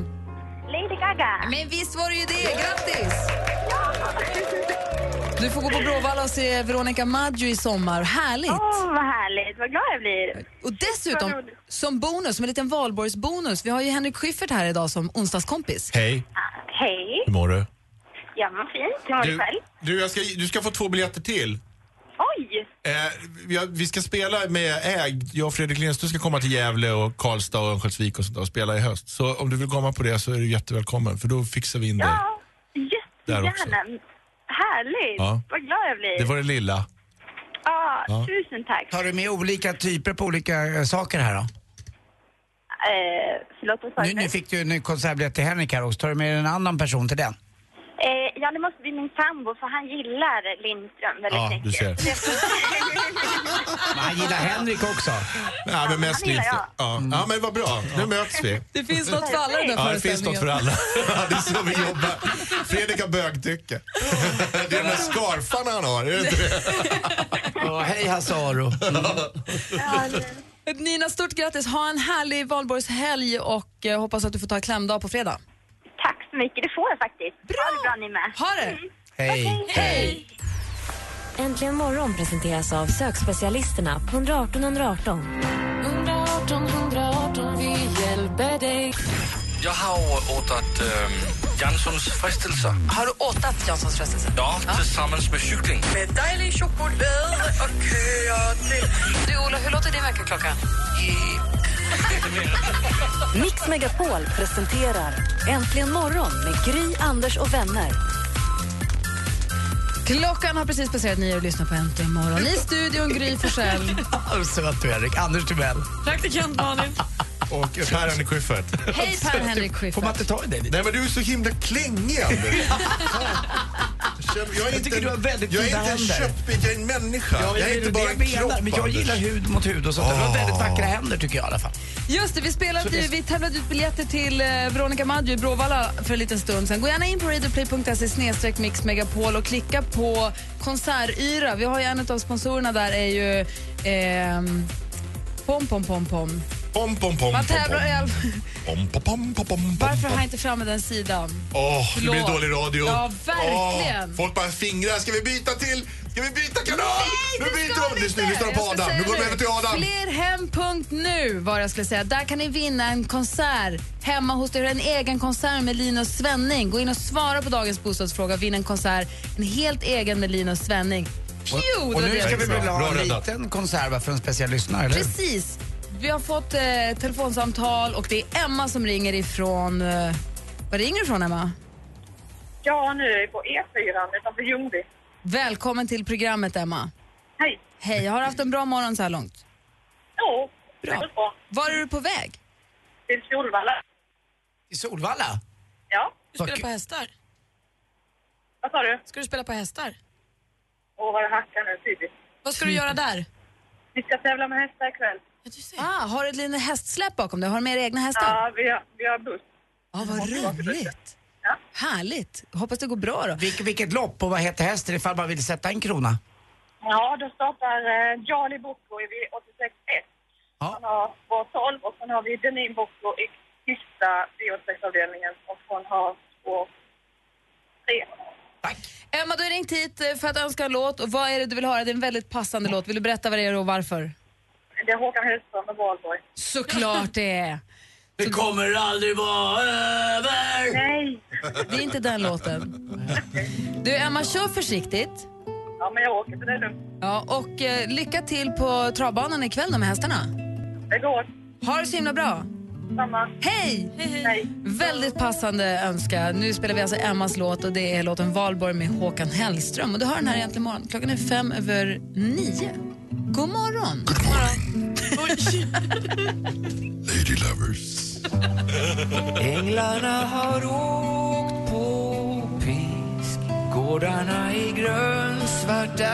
Lady Gaga. Men visst var det ju det! Grattis! Du får gå på Bråvalla och se Veronica Maggio i sommar. Härligt! Åh, vad härligt. Vad glad jag blir. Och dessutom, Vad roligt. som bonus, som en liten valborgsbonus, vi har ju Henrik Schyffert här idag som onsdagskompis. Hej, Hej. hur mår du? Ja, vad fint. Hur mår du Du, själv? du, jag ska, du ska få två biljetter till. Oj! Eh, vi, har- vi ska spela med Ägd. Jag och Fredrik Lindström ska komma till Gävle och Karlstad och Örnsköldsvik och sånt där och spela i höst. Så om du vill komma på det så är du jättevälkommen för då fixar vi in dig. Ja, Där också. jättegärna. Härligt. Ja. Vad glad jag blir. Det var det lilla. Ja, Ja. tusen tack. Tar du med olika typer på olika eh, saker här då? Eh, förlåt, vad sa Nu, du? nu fick du en konsertbiljett till Henrik här också. Tar du med en annan person till den? Eh, ja, det måste bli min sambo för han gillar Lindström väldigt Ja, du mycket. ser. Men han gillar Henrik också. Nej, men mest Han gillar lite. jag. Ja. ja, men vad bra. Nu möts vi. Det finns något för alla i den här Ja, det finns något för alla. det är så vi jobbar. Fredrik har bögtycke. Det är de där skarfarna han har, är det inte det? Ja, hej Hasse Aro. Mm. Nina, stort grattis. Ha en härlig valborgshelg och eh, hoppas att du får ta klämdag på fredag. Tack så mycket. Det får jag faktiskt. Bra! Ha det bra ni med. Ha det! Hej. Hej! Äntligen morgon presenteras av sökspecialisterna på 118 118. 118 118, vi hjälper dig. Jag har åtat ähm, Janssons frestelser. Har du åtat Janssons frestelse? Ja, tillsammans med cykling. Med dejlig choklad och köer till... Du Ola, hur låter din väckarklocka? Mix Megapol presenterar Äntligen morgon med Gry, Anders och vänner. Klockan har precis passerat nio och lyssnar på Äntligen morgon. I studion Gry Forssell. Vad Söt du Henrik. Anders Timell. Praktikant Malin. Och Per-Henrik Schyffert. Hej Per-Henrik Schyffert. Får man inte ta i dig lite? Nej, men du är så himla klängig, Anders. Jag känner- Jag, är inte, tycker du har väldigt jag är fina inte en händer. köttbit, jag är en människa. Ja, jag, det är inte det bara jag en menar, kropp, Ah. Men jag Anders. gillar hud mot hud och sånt där. Du har Åh. väldigt vackra händer tycker jag i alla fall. Just det, vi, spelade, ju- vi tävlade ut biljetter till eh, Veronica Maggio i Bråvalla för en liten stund sen. Gå gärna in på radioplay.se snedstreck mix megapol och klicka på konsertyra. Vi har ju en av sponsorerna där är ju ehm, Pom Pom Pom Pom. Pom, pom, pom, Man pom, tävlar i pom. all... Pom, pom, pom, pom, pom, Varför har pom. jag inte framme den sidan? Åh, det blir Förlåt. dålig radio. Ja, verkligen. Åh, folk bara fingrar. Ska vi byta till... Ska vi byta kanal? Nej, nu det byter ska de. vi Lyssna, inte. lyssna på Jag ska Adam. säga Nu går de det. över till Adam. Flerhem.nu var jag skulle säga. Där kan ni vinna en konsert hemma hos er. En egen konsert med Linus Svenning. Gå in och svara på dagens bostadsfråga. Vinn en konsert, en helt egen med Linus Svenning. Pju! det var Och nu det. ska vi väl Bra ha en räddat. liten konserva för en speciell lyssnare, eller hur? Precis. Vi har fått eh, telefonsamtal och det är Emma som ringer ifrån... Eh, var ringer du ifrån, Emma? Ja, nu är vi på E E4 utanför Ljungby. Välkommen till programmet, Emma. Hej. Hej, har du haft en bra morgon så här långt? Jo, det Bra. går bra. Var är du på väg? Till Solvalla. I Solvalla? Ja. Du spelar på hästar. Vad sa du? Ska du spela på hästar? Åh, vad det hackar nu tidigt. Vad ska du göra där? Vi ska tävla med hästar ikväll. Ah, har du ett litet hästsläp bakom dig? Har du med era egna hästar? Ja, vi har, vi har buss. Ja, vad roligt. Härligt. Hoppas det går bra då. Vilk, vilket lopp och vad heter hästen ifall man vill sätta en krona? Ja, då startar eh, Charlie Bocco i V86.1. Han har spår 12 och sen har vi Denim Bocco i sista V86-avdelningen och hon har spår 3. Emma, du har ringt hit eh, för att önska en låt. Och vad är det du vill höra? Det är en väldigt passande låt. Vill du berätta vad det är och varför? Det är Håkan Hellström med Valborg. Såklart det är. Det kommer aldrig vara över! Nej. Det är inte den låten. Du, Emma, kör försiktigt. Ja, men jag åker så det är lugnt. Ja, och eh, lycka till på travbanan ikväll då med hästarna. Det går. Ha det så himla bra. Samma. Hej! Hej. Väldigt passande önskan. Nu spelar vi alltså Emmas låt och det är låten Valborg med Håkan Hellström. Och du hör den här egentligen imorgon. Klockan är fem över nio. God morgon! God Lady lovers. Änglarna har åkt på piskgårdarna i grönsvarta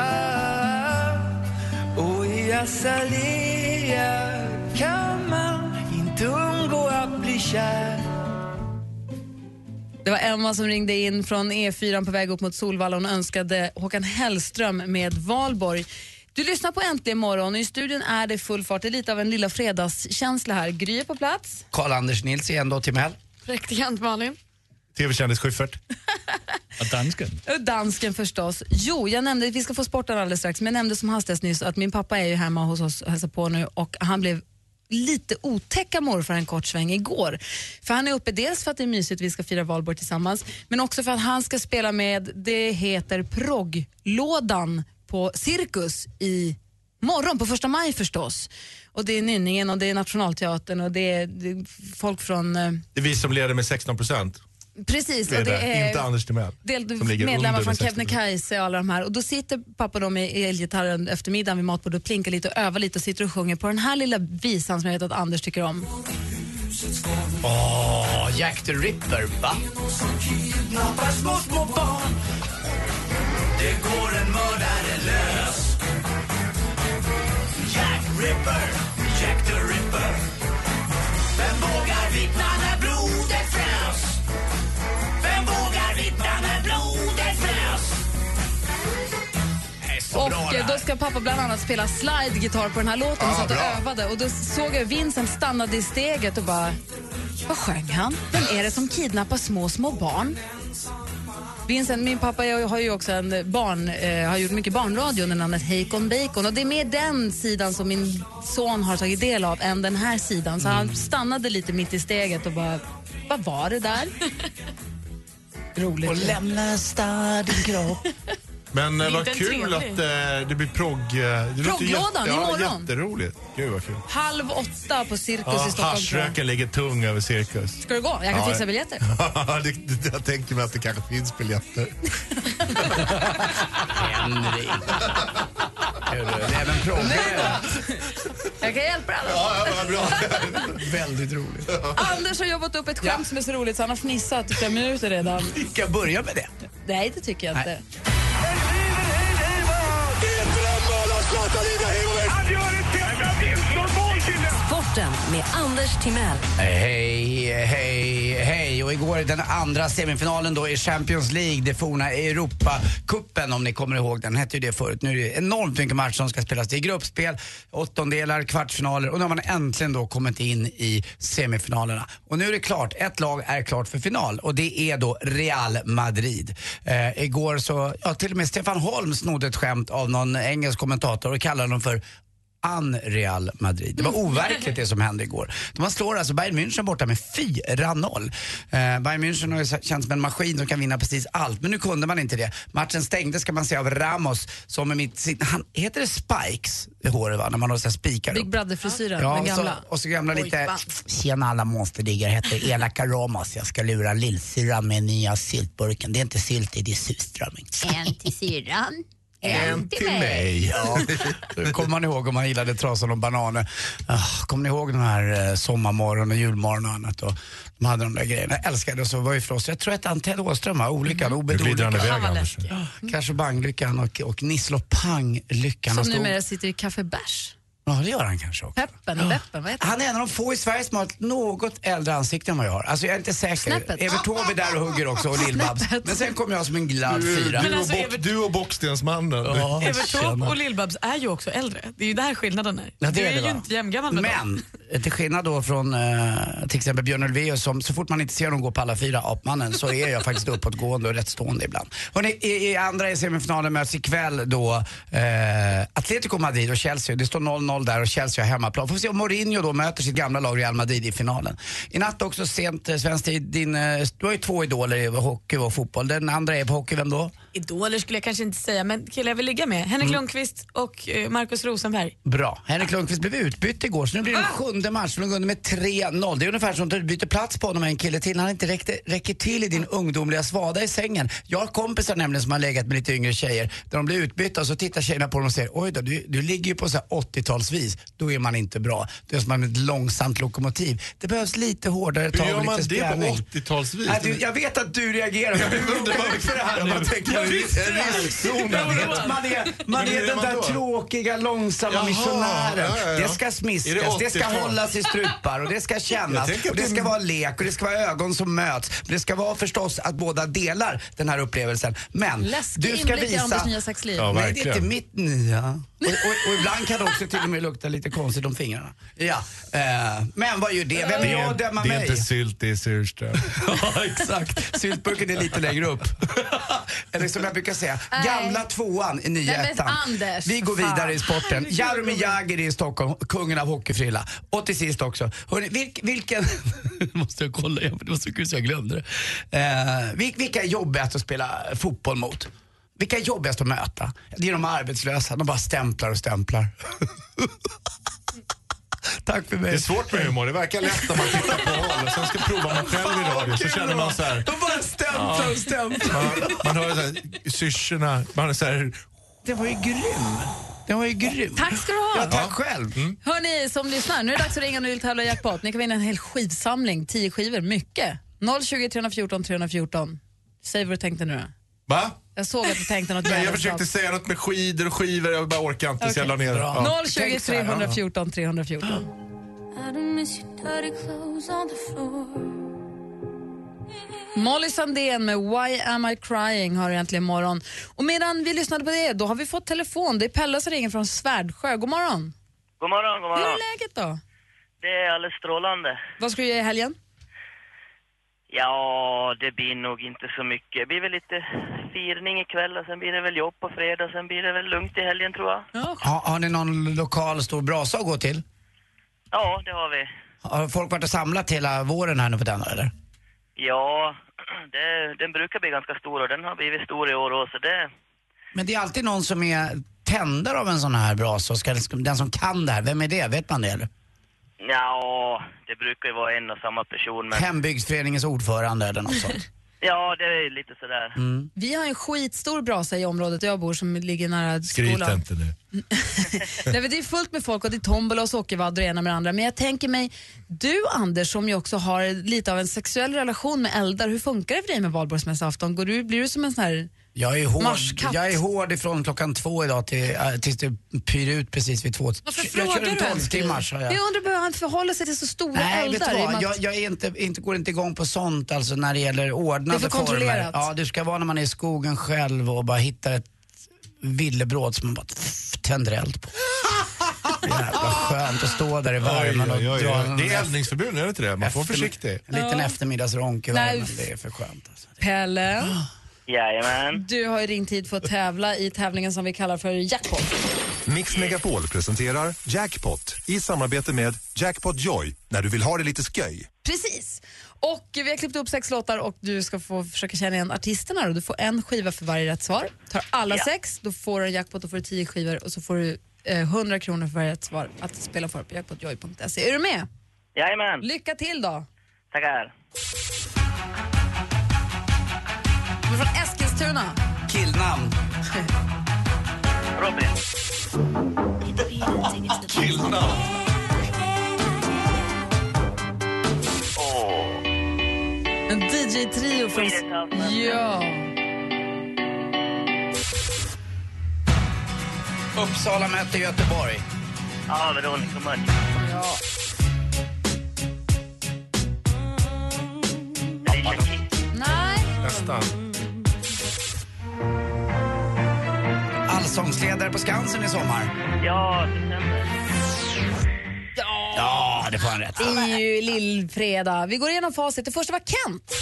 och i azalea kan man inte undgå att bli kär Det var Emma som ringde in från E4 på väg upp mot Solvalla. Hon önskade Håkan Hellström med Valborg. Du lyssnar på Äntligen morgon och i studion är det full fart. Det är lite av en lilla fredagskänsla här. Gry är på plats. Karl-Anders Nils igen då, Timell. Praktikant Malin. Tv-kändis Schyffert. dansken. Och Eh, dansken förstås. Jo, jag nämnde, vi ska få sporten alldeles strax, men jag nämnde som hastigast nyss att min pappa är ju hemma hos oss och hälsar på nu och han blev lite otäcka morfar en kort sväng igår. För han är uppe dels för att det är mysigt, vi ska fira valborg tillsammans, men också för att han ska spela med, det heter progglådan på Cirkus i morgon, på första maj förstås. Och det är Nynningen och det är Nationalteatern och det är, det är folk från eh, Det är vi som leder med 16 procent. Precis, Det är och det det. är Inte Anders Timell. del, som ligger medlemmar under från med 60%. Kebnekaise och alla de här. Och då sitter pappa och de med elgitarren eftermiddagen vid matbordet och plinkar lite och övar lite och sitter och sjunger på den här lilla visan som jag vet att Anders tycker om. Åh, Jack the Ripper, va? Kidnappar små, små barn. Det går en mördare lös. Jack Ripper, Jack the Ripper. Vem vågar vittna när blodet frös? Vem vågar vittna när blodet frös? Och eh, då ska pappa bland annat spela slide-gitarr på den här låten. Ah, och satt och bra. övade och då såg jag Vincent stannade i steget och bara, vad sjöng han? Vem är det som kidnappar små, små barn? Vincent, min pappa jag har ju också en barn, eh, har gjort mycket barnradio under namnet Hakon Bacon och det är mer den sidan som min son har tagit del av än den här sidan. Så Mm. han stannade lite mitt i steget och bara, vad var det där? Roligt. Och lämna stad din kropp. Men eh, vad Liten kul trevlig. att eh, det blir progg... eh, det låter ju Progglådan jätte- Ja, imorgon. jätteroligt. Gud vad kul. Halv åtta på Cirkus i Ja, Stockholm. tror jag. Haschröken ligger tung över cirkus. Ska du gå? Jag kan Ja. fixa biljetter. det, det, jag tänker mig att det kanske finns biljetter. Henrik. Även progg. Jag kan hjälpa dig. bra. Väldigt roligt. Anders har jobbat upp ett skämt som är så roligt så han har fnissat i fem minuter redan. Ska jag börja med det? Nej, det tycker jag inte. Sporten med Anders Timell. Hej, hej, hej. Och igår den andra semifinalen då i Champions League, det forna Europacupen om ni kommer ihåg. Den hette ju det förut. Nu är det enormt mycket matcher som ska spelas. Det är gruppspel, åttondelar, kvartsfinaler och nu har man äntligen då kommit in i semifinalerna. Och nu är det klart, ett lag är klart för final och det är då Real Madrid. Eh, igår så, ja till och med Stefan Holm snodde ett skämt av någon engelsk kommentator och kallade dem för An-Real Madrid. Det var overkligt det som hände igår. Man slår alltså Bayern München borta med 4-0. Eh, Bayern München har ju så- känts som en maskin som kan vinna precis allt, men nu kunde man inte det. Matchen stängdes kan man säga av Ramos som med mitt, sin- han, heter det spikes i håret va? När man har så här spikar upp. Big Brother-frisyren, Ja, den och så, gamla. och så gamla Oj, lite, va? tjena alla monsterdiggare, heter elaka Ramos. Jag ska lura lillsyrran med nya syltburken. Det är inte sylt, det är surströmming. En till syrran. Ja, det kommer man ihåg om man gillade trasan och bananer. Ah, Kommer ni ihåg den här eh, sommarmorgon och julmorgon och annat? Och de hade de där grejerna. Jag älskade och så var ju för oss. Jag tror att han Ted Åström, va? olyckan, Ah, obed glider han iväg, Han var Anders. Kanske banglyckan och, och gnissel och panglyckan. Som Och stod- numera sitter i Café Bärs. Ja, det gör han kanske också. Peppen, Beppen, vad heter Han är en av de få i Sverige som har ett något äldre ansikte än vad jag har. Alltså jag är inte säker. Snäppet. Evert Taube är där och hugger också och Lill-Babs. Men sen kommer jag som en glad fyra. Du, och bock, du och Bockstensmannen. Ja. Evert Taube Tjena. och Lill-Babs är ju också äldre. Det är ju där skillnaden är. Ja, det du är är, det, ju va? inte jämngammal med dem. Men, eh, till skillnad då från eh, till exempel Björn Ulvaeus som så fort man inte ser honom gå på alla fyra apmannen så är jag faktiskt uppåtgående och rättstående ibland. Hörrni, i, i andra i semifinalen möts ikväll då eh, Atletico Madrid och Chelsea. Det står 0-0 där och Chelsea har hemmaplan. Får vi se om Mourinho då möter sitt gamla lag Real Madrid i finalen. I natt också sent eh, svensk tid, din, eh, du har ju två idoler i hockey och fotboll. Den andra är på hockey, vem då? Idoler skulle jag kanske inte säga, men killar jag vill ligga med. Henrik Lundqvist och eh, Markus Rosenberg. Bra. Henrik Lundqvist blev utbytt igår, så nu blir det en sjunde match. De går under med 3-0. Det är ungefär som att du byter plats på honom med en kille till. Han inte räckte, räcker till i din ungdomliga svada i sängen. Jag har kompisar nämligen som har legat med lite yngre tjejer. Där de blir utbytta och så tittar tjejerna på dem och säger oj då, du, du ligger ju på så här 80-talsvis. Då är man inte bra. Det är som man är ett långsamt lokomotiv. Det behövs lite hårdare Hur tag gör och man lite det på spänning. 80-talsvis? Nej, du, jag vet att du reagerar. Jag undrar varför det här nu. Jag tänker, Jag jag visste visste det här. det. Jag Jag vet, oroar. man är, man Men hur är är den man då? där tråkiga, långsamma Jaha, missionären. ja, ja, ja. Det ska Är det smiskas, det, ska 80-tal? hållas i strupar och det ska Jag kännas. tänker Och det att ska det- vara lek och det ska vara ögon som möts. Men Det ska vara förstås att båda delar den här upplevelsen. Men Läskig du ska inblick i visa... Anders nya sexliv. Ja, Nej, det är verkligen. inte mitt nya. Och, och, och ibland kan det också till och med lukta lite konstigt om fingrarna. Ja, eh, men vad gör det? Vem är jag att döma det är mig? inte sylt, det är surström. Ja, exakt. Syltburken är lite längre upp. Eller som jag brukar säga, Nej. gamla tvåan i Nej, nya men ettan. Anders, Vi går vidare i fan. sporten. Jaromir Jagr är i Stockholm, kungen av hockeyfrilla. Och till sist också, hörni, vilk, vilken... måste jag kolla igen, för det var så kul så jag glömde det. Eh, vil, vilka är jobbigast att spela fotboll mot? Vilka är jobbigast att möta? Det är de arbetslösa, de bara stämplar och stämplar. Tack för mig. Det är svårt med humor. Det verkar lätt när man tittar på håll. Sen ska prova man själv i radio så känner man så här. De bara stämplar och stämplar. Man, man hör så här, syrsorna, man är så här, Det var ju grym. Det var ju grym. Tack ska du ha. Ja, tack själv. Mm. Hör ni som lyssnar, nu är det dags att ringa nu och tävla i jackpot. Ni kan vinna en hel skivsamling, 10 skivor, mycket. 020 314 314. Säg vad du tänkte nu då. va? Jag såg att du tänkte något Nej, jag jävligt försökte säga något med skidor och skivor, jag bara orkar inte så jag la ner det. bra. Ja. 020 314 314. Molly Sandén med Why am I crying har egentligen morgon. Och medan vi lyssnade på det, då har vi fått telefon. Det är Pelle som ringer från Svärdsjö. God morgon. God morgon, god Hur är morgon. läget då? Det är alldeles strålande. Vad ska du göra i helgen? Ja, det blir nog inte så mycket. Det blir väl lite firning ikväll och sen blir det väl jobb på fredag. Sen blir det väl lugnt i helgen tror jag. Ha, har ni någon lokal stor brasa att gå till? Ja, det har vi. Har folk varit och samlat hela våren här nu på den eller? Ja, det, den brukar bli ganska stor och den har blivit stor i år också. så Det, Men det är alltid någon som är tändare av en sån här brasa. och Ska, den som kan det här, vem är det? Vet man det eller? ja, det brukar ju vara en och samma person men... Hembygdsföreningens ordförande eller något sånt. Ja, det är lite sådär. Vi har en skitstor brasa i området där jag bor som ligger nära Skryt skolan. inte nu. Nej, men det är fullt med folk och det är tombola och sockervadd och det ena med det andra. Men jag tänker mig, du Anders som ju också har lite av en sexuell relation med eldar, hur funkar det för dig med valborgsmässoafton? Går du, blir du som en sån här... Jag är hård, Marskatt. jag är hård ifrån klockan två idag till, äh, tills det pyr ut precis vid två. jag kör en tolv timmars har Jag jag. undrar, behöver han förhålla sig till så stora Nej, vet eldar? du i och med vad? att- Jag, jag är inte, inte, går inte igång på sånt alltså när det gäller ordnade Det är för kontrollerat. former. Ja, det ska vara när man är i skogen själv och bara hittar ett villebråd som man bara pff, tänder eld på. Jävla skönt att stå där i värmen och Oj, oj, oj. dra en Det är eldningsförbud nu, är det inte det? Man får vara försiktig. En liten Ja. eftermiddagsronk i Nej. värmen, det är för skönt. Alltså. Pelle, Jajamän. du har ju ringt hit för att tävla i tävlingen som vi kallar för jackpot. Mix Megapol presenterar Jackpot i samarbete med Jackpot Joy när du vill ha det lite sköj. Precis. Och vi har klippt upp sex låtar och du ska få försöka känna igen artisterna. Då. Du får en skiva för varje rätt svar. Tar alla Ja. sex, då får du en jackpot och får du tio skivor och så får du eh, 100 kronor för varje rätt svar att spela för på jackpotjoy.se. Är du med? Jajamän. Lycka till då! Tackar. Du är från Eskilstuna. Killnamn. Robin. Killnamn. En DJ-trio från... alltså. Ja. Uppsala möter Göteborg. Ja, Veronica Maggio. Ja. Alicia Keys. Nej. Nästan. Allsångsledare på Skansen i sommar. Ja, det stämmer. Ja, det får han rätt. Det är ju lillfredag. Vi går igenom facit. Det första var Kent.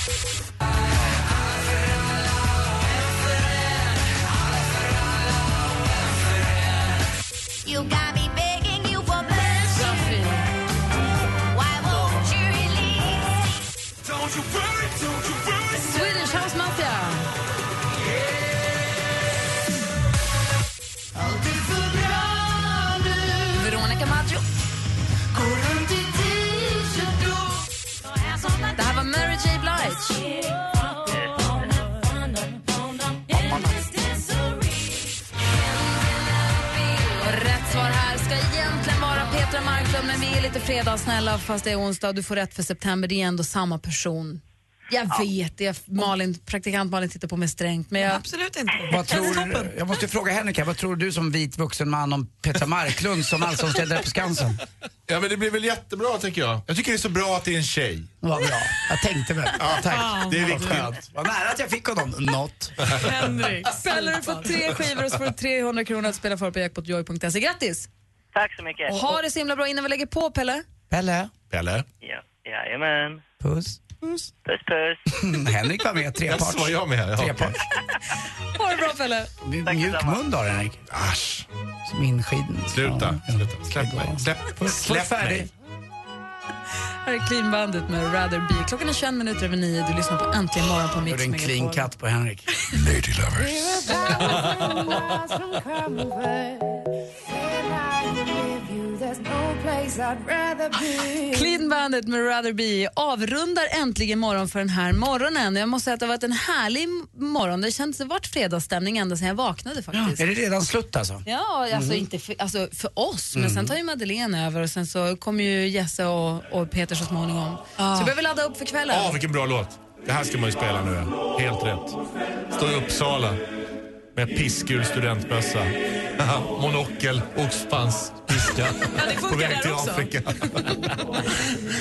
You got me begging you for mercy. Why won't you release? Don't you worry, don't you worry. Swedish House Mafia. Veronica Maggio. Det här var Mary J. Blige. Och rätt svar här ska egentligen vara Petra Marklund men vi är lite fredagssnälla fast det är onsdag du får rätt för september. Det är ändå samma person. Jag vet, jag, Malin, praktikant Malin tittar på mig strängt. Men jag... Absolut inte. Vad tror, jag måste fråga Henrika, vad tror du som vit vuxen man om Petra Marklund som allsångsledare på Skansen? Ja, men det blir väl jättebra tycker jag. Jag tycker det är så bra att det är en tjej. Vad bra. Jag tänkte väl. Ja, Tack. det är Vad viktigt. skönt. Vad nära att jag fick honom. Något. Henrik. Ställer du på tre skivor och så får du 300 kronor att spela för på jackpotjoy.se. Grattis! Tack så mycket. Ha det så himla bra innan vi lägger på, Pelle. Pelle. Pelle. Ja, jajamän. Puss. Mm, Puss. Puss, puss. Henrik var med, treparts. Jaså, var jag med? Ja. Treparts. Ha det bra, Pelle. Mjuk mun då, Henrik. Asch. Som inskiden. Sluta, sluta. Släpp mig. Släpp, släpp mig. färdig. Här är Clean Bandit med Rather Be. Klockan är 21 minuter över 9. Du lyssnar på Äntligen morgon på Mix Gjorde en clean cut på Henrik. Lady Clean Bandit med Rather Be avrundar äntligen morgon för den här morgonen. Jag måste säga att det har varit en härlig morgon. Det känns det varit fredagsstämning ända sedan jag vaknade faktiskt. Är det redan slut alltså? Ja, alltså Mhm. inte för, alltså för oss, men Mm. sen tar ju Madeleine över och sen så kommer ju Jesse och, och Peter så småningom. Så vi behöver ladda upp för kvällen. Ja, vilken bra låt. Det här ska man ju spela nu. ja. Helt rätt. Står i Uppsala med pissgul studentmössa. Monokel, oxpanspiska. funkar På väg där till också. Afrika.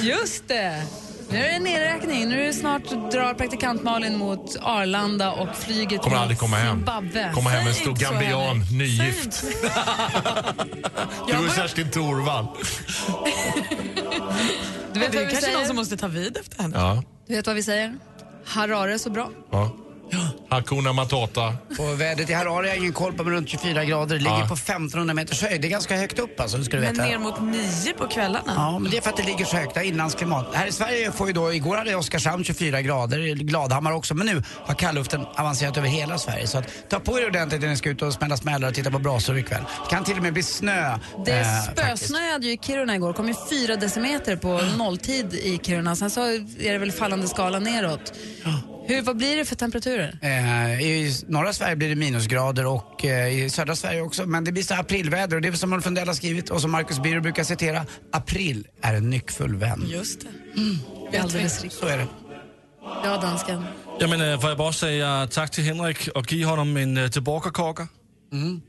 Just det! Nu är det nedräkning. Nu är det snart drar praktikant Malin mot Arlanda och flyget Kommer mot aldrig komma hem. Zimbabwe. Komma hem en Säg stor inte så, gambian, Henrik. nygift. Du och Kerstin Thorvall. Du vet det vad vi är kanske säger? någon som måste ta vid efter henne. Ja. Du vet vad vi säger? Harare är så bra. ja. Hakuna Matata. Och vädret i Harare har jag ingen koll på, men runt 24 grader. Det ligger Ja. på 1500 meters höjd. Det är ganska högt upp alltså, det ska du Men veta. ner mot nio på kvällarna. Ja, men det är för att det ligger så högt, det är inlandsklimat. Här i Sverige får ju då, igår hade Oskarshamn 24 grader, Gladhammar också, men nu har kallluften avancerat över hela Sverige. Så att, ta på er ordentligt när ni ska ut och smälla smällare och titta på brasor ikväll. Det kan till och med bli snö. Det eh, spösnöade ju i Kiruna igår. Det kom ju fyra decimeter på Ah. nolltid i Kiruna. Sen så är det väl fallande skala neråt. Ah. Hur, vad blir det för temperaturer? Eh, I norra Sverige blir det minusgrader och eh, i södra Sverige också. Men det blir så här aprilväder och det är som Ulf Lundell har skrivit och som Marcus Birro brukar citera. April är en nyckfull vän. Just det. Det är alldeles riktigt. Så är det. Ja, dansken. Jamen, øh, får jeg bare sige øh, tak til Henrik og give ham en øh, tilborgerkokker? Mm.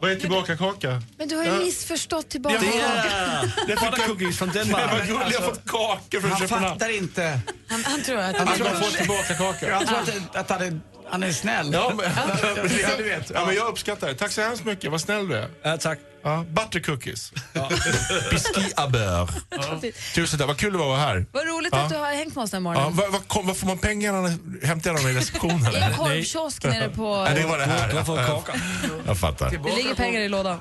Vad är tillbaka-kaka? Men du har ju missförstått tillbaka. Det er det er buttercookies fra Det var Danmark. gulligt, jag har fått kakor från Han Köpenhamn. fattar inte. Han, han tror att... Han tror att får tillbaka-kakor. Jag tror att, att han, är, han är snäll. Ja, men, Ja, du vet. ja, men jag uppskattar det. Tack så hemskt mycket. Vad snäll du är. Ja, tack. Ja, buttercookies. Ja. Biscuit à beurre. Tusen tack. Vad kul det var att vara här. Vad roligt Ja. att du har hängt med oss den här Ja, morgonen. vad, vad, kom, vad får man pengarna? Hämtar jag dem i receptionen? I en eller? korvkiosk nere på... Nej, det var det här. Du har fått kaka. Jag fattar. Det ligger pengar i lådan.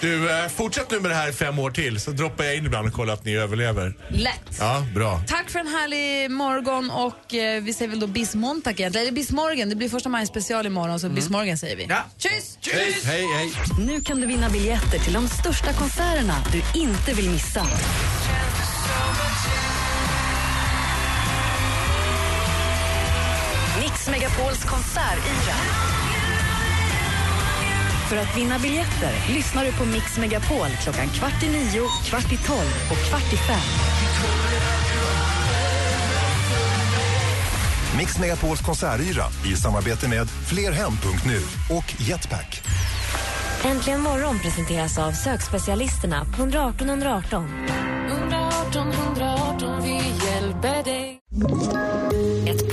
Du, eh, fortsätt nu med det här i fem år till så droppar jag in ibland och kollar att ni överlever. Lätt. Ja, bra. Tack för en härlig morgon och eh, vi säger väl då bis montag egentligen. Eller bis morgen. Det blir första maj special imorgon så Mm. bis morgen säger vi. Tjus! Hej, hej, hej. Nu kan du vinna biljetter till de största konserterna du inte vill missa. Mix Megapols konsertyra. För att vinna biljetter lyssnar du på Mix Megapol klockan kvart i nio, kvart i tolv och kvart i fem. Mix Megapols konsertyra i samarbete med flerhem.nu och Jetpack. Äntligen morgon presenteras av sökspecialisterna på 118 118. 118 118, vi hjälper dig. Ett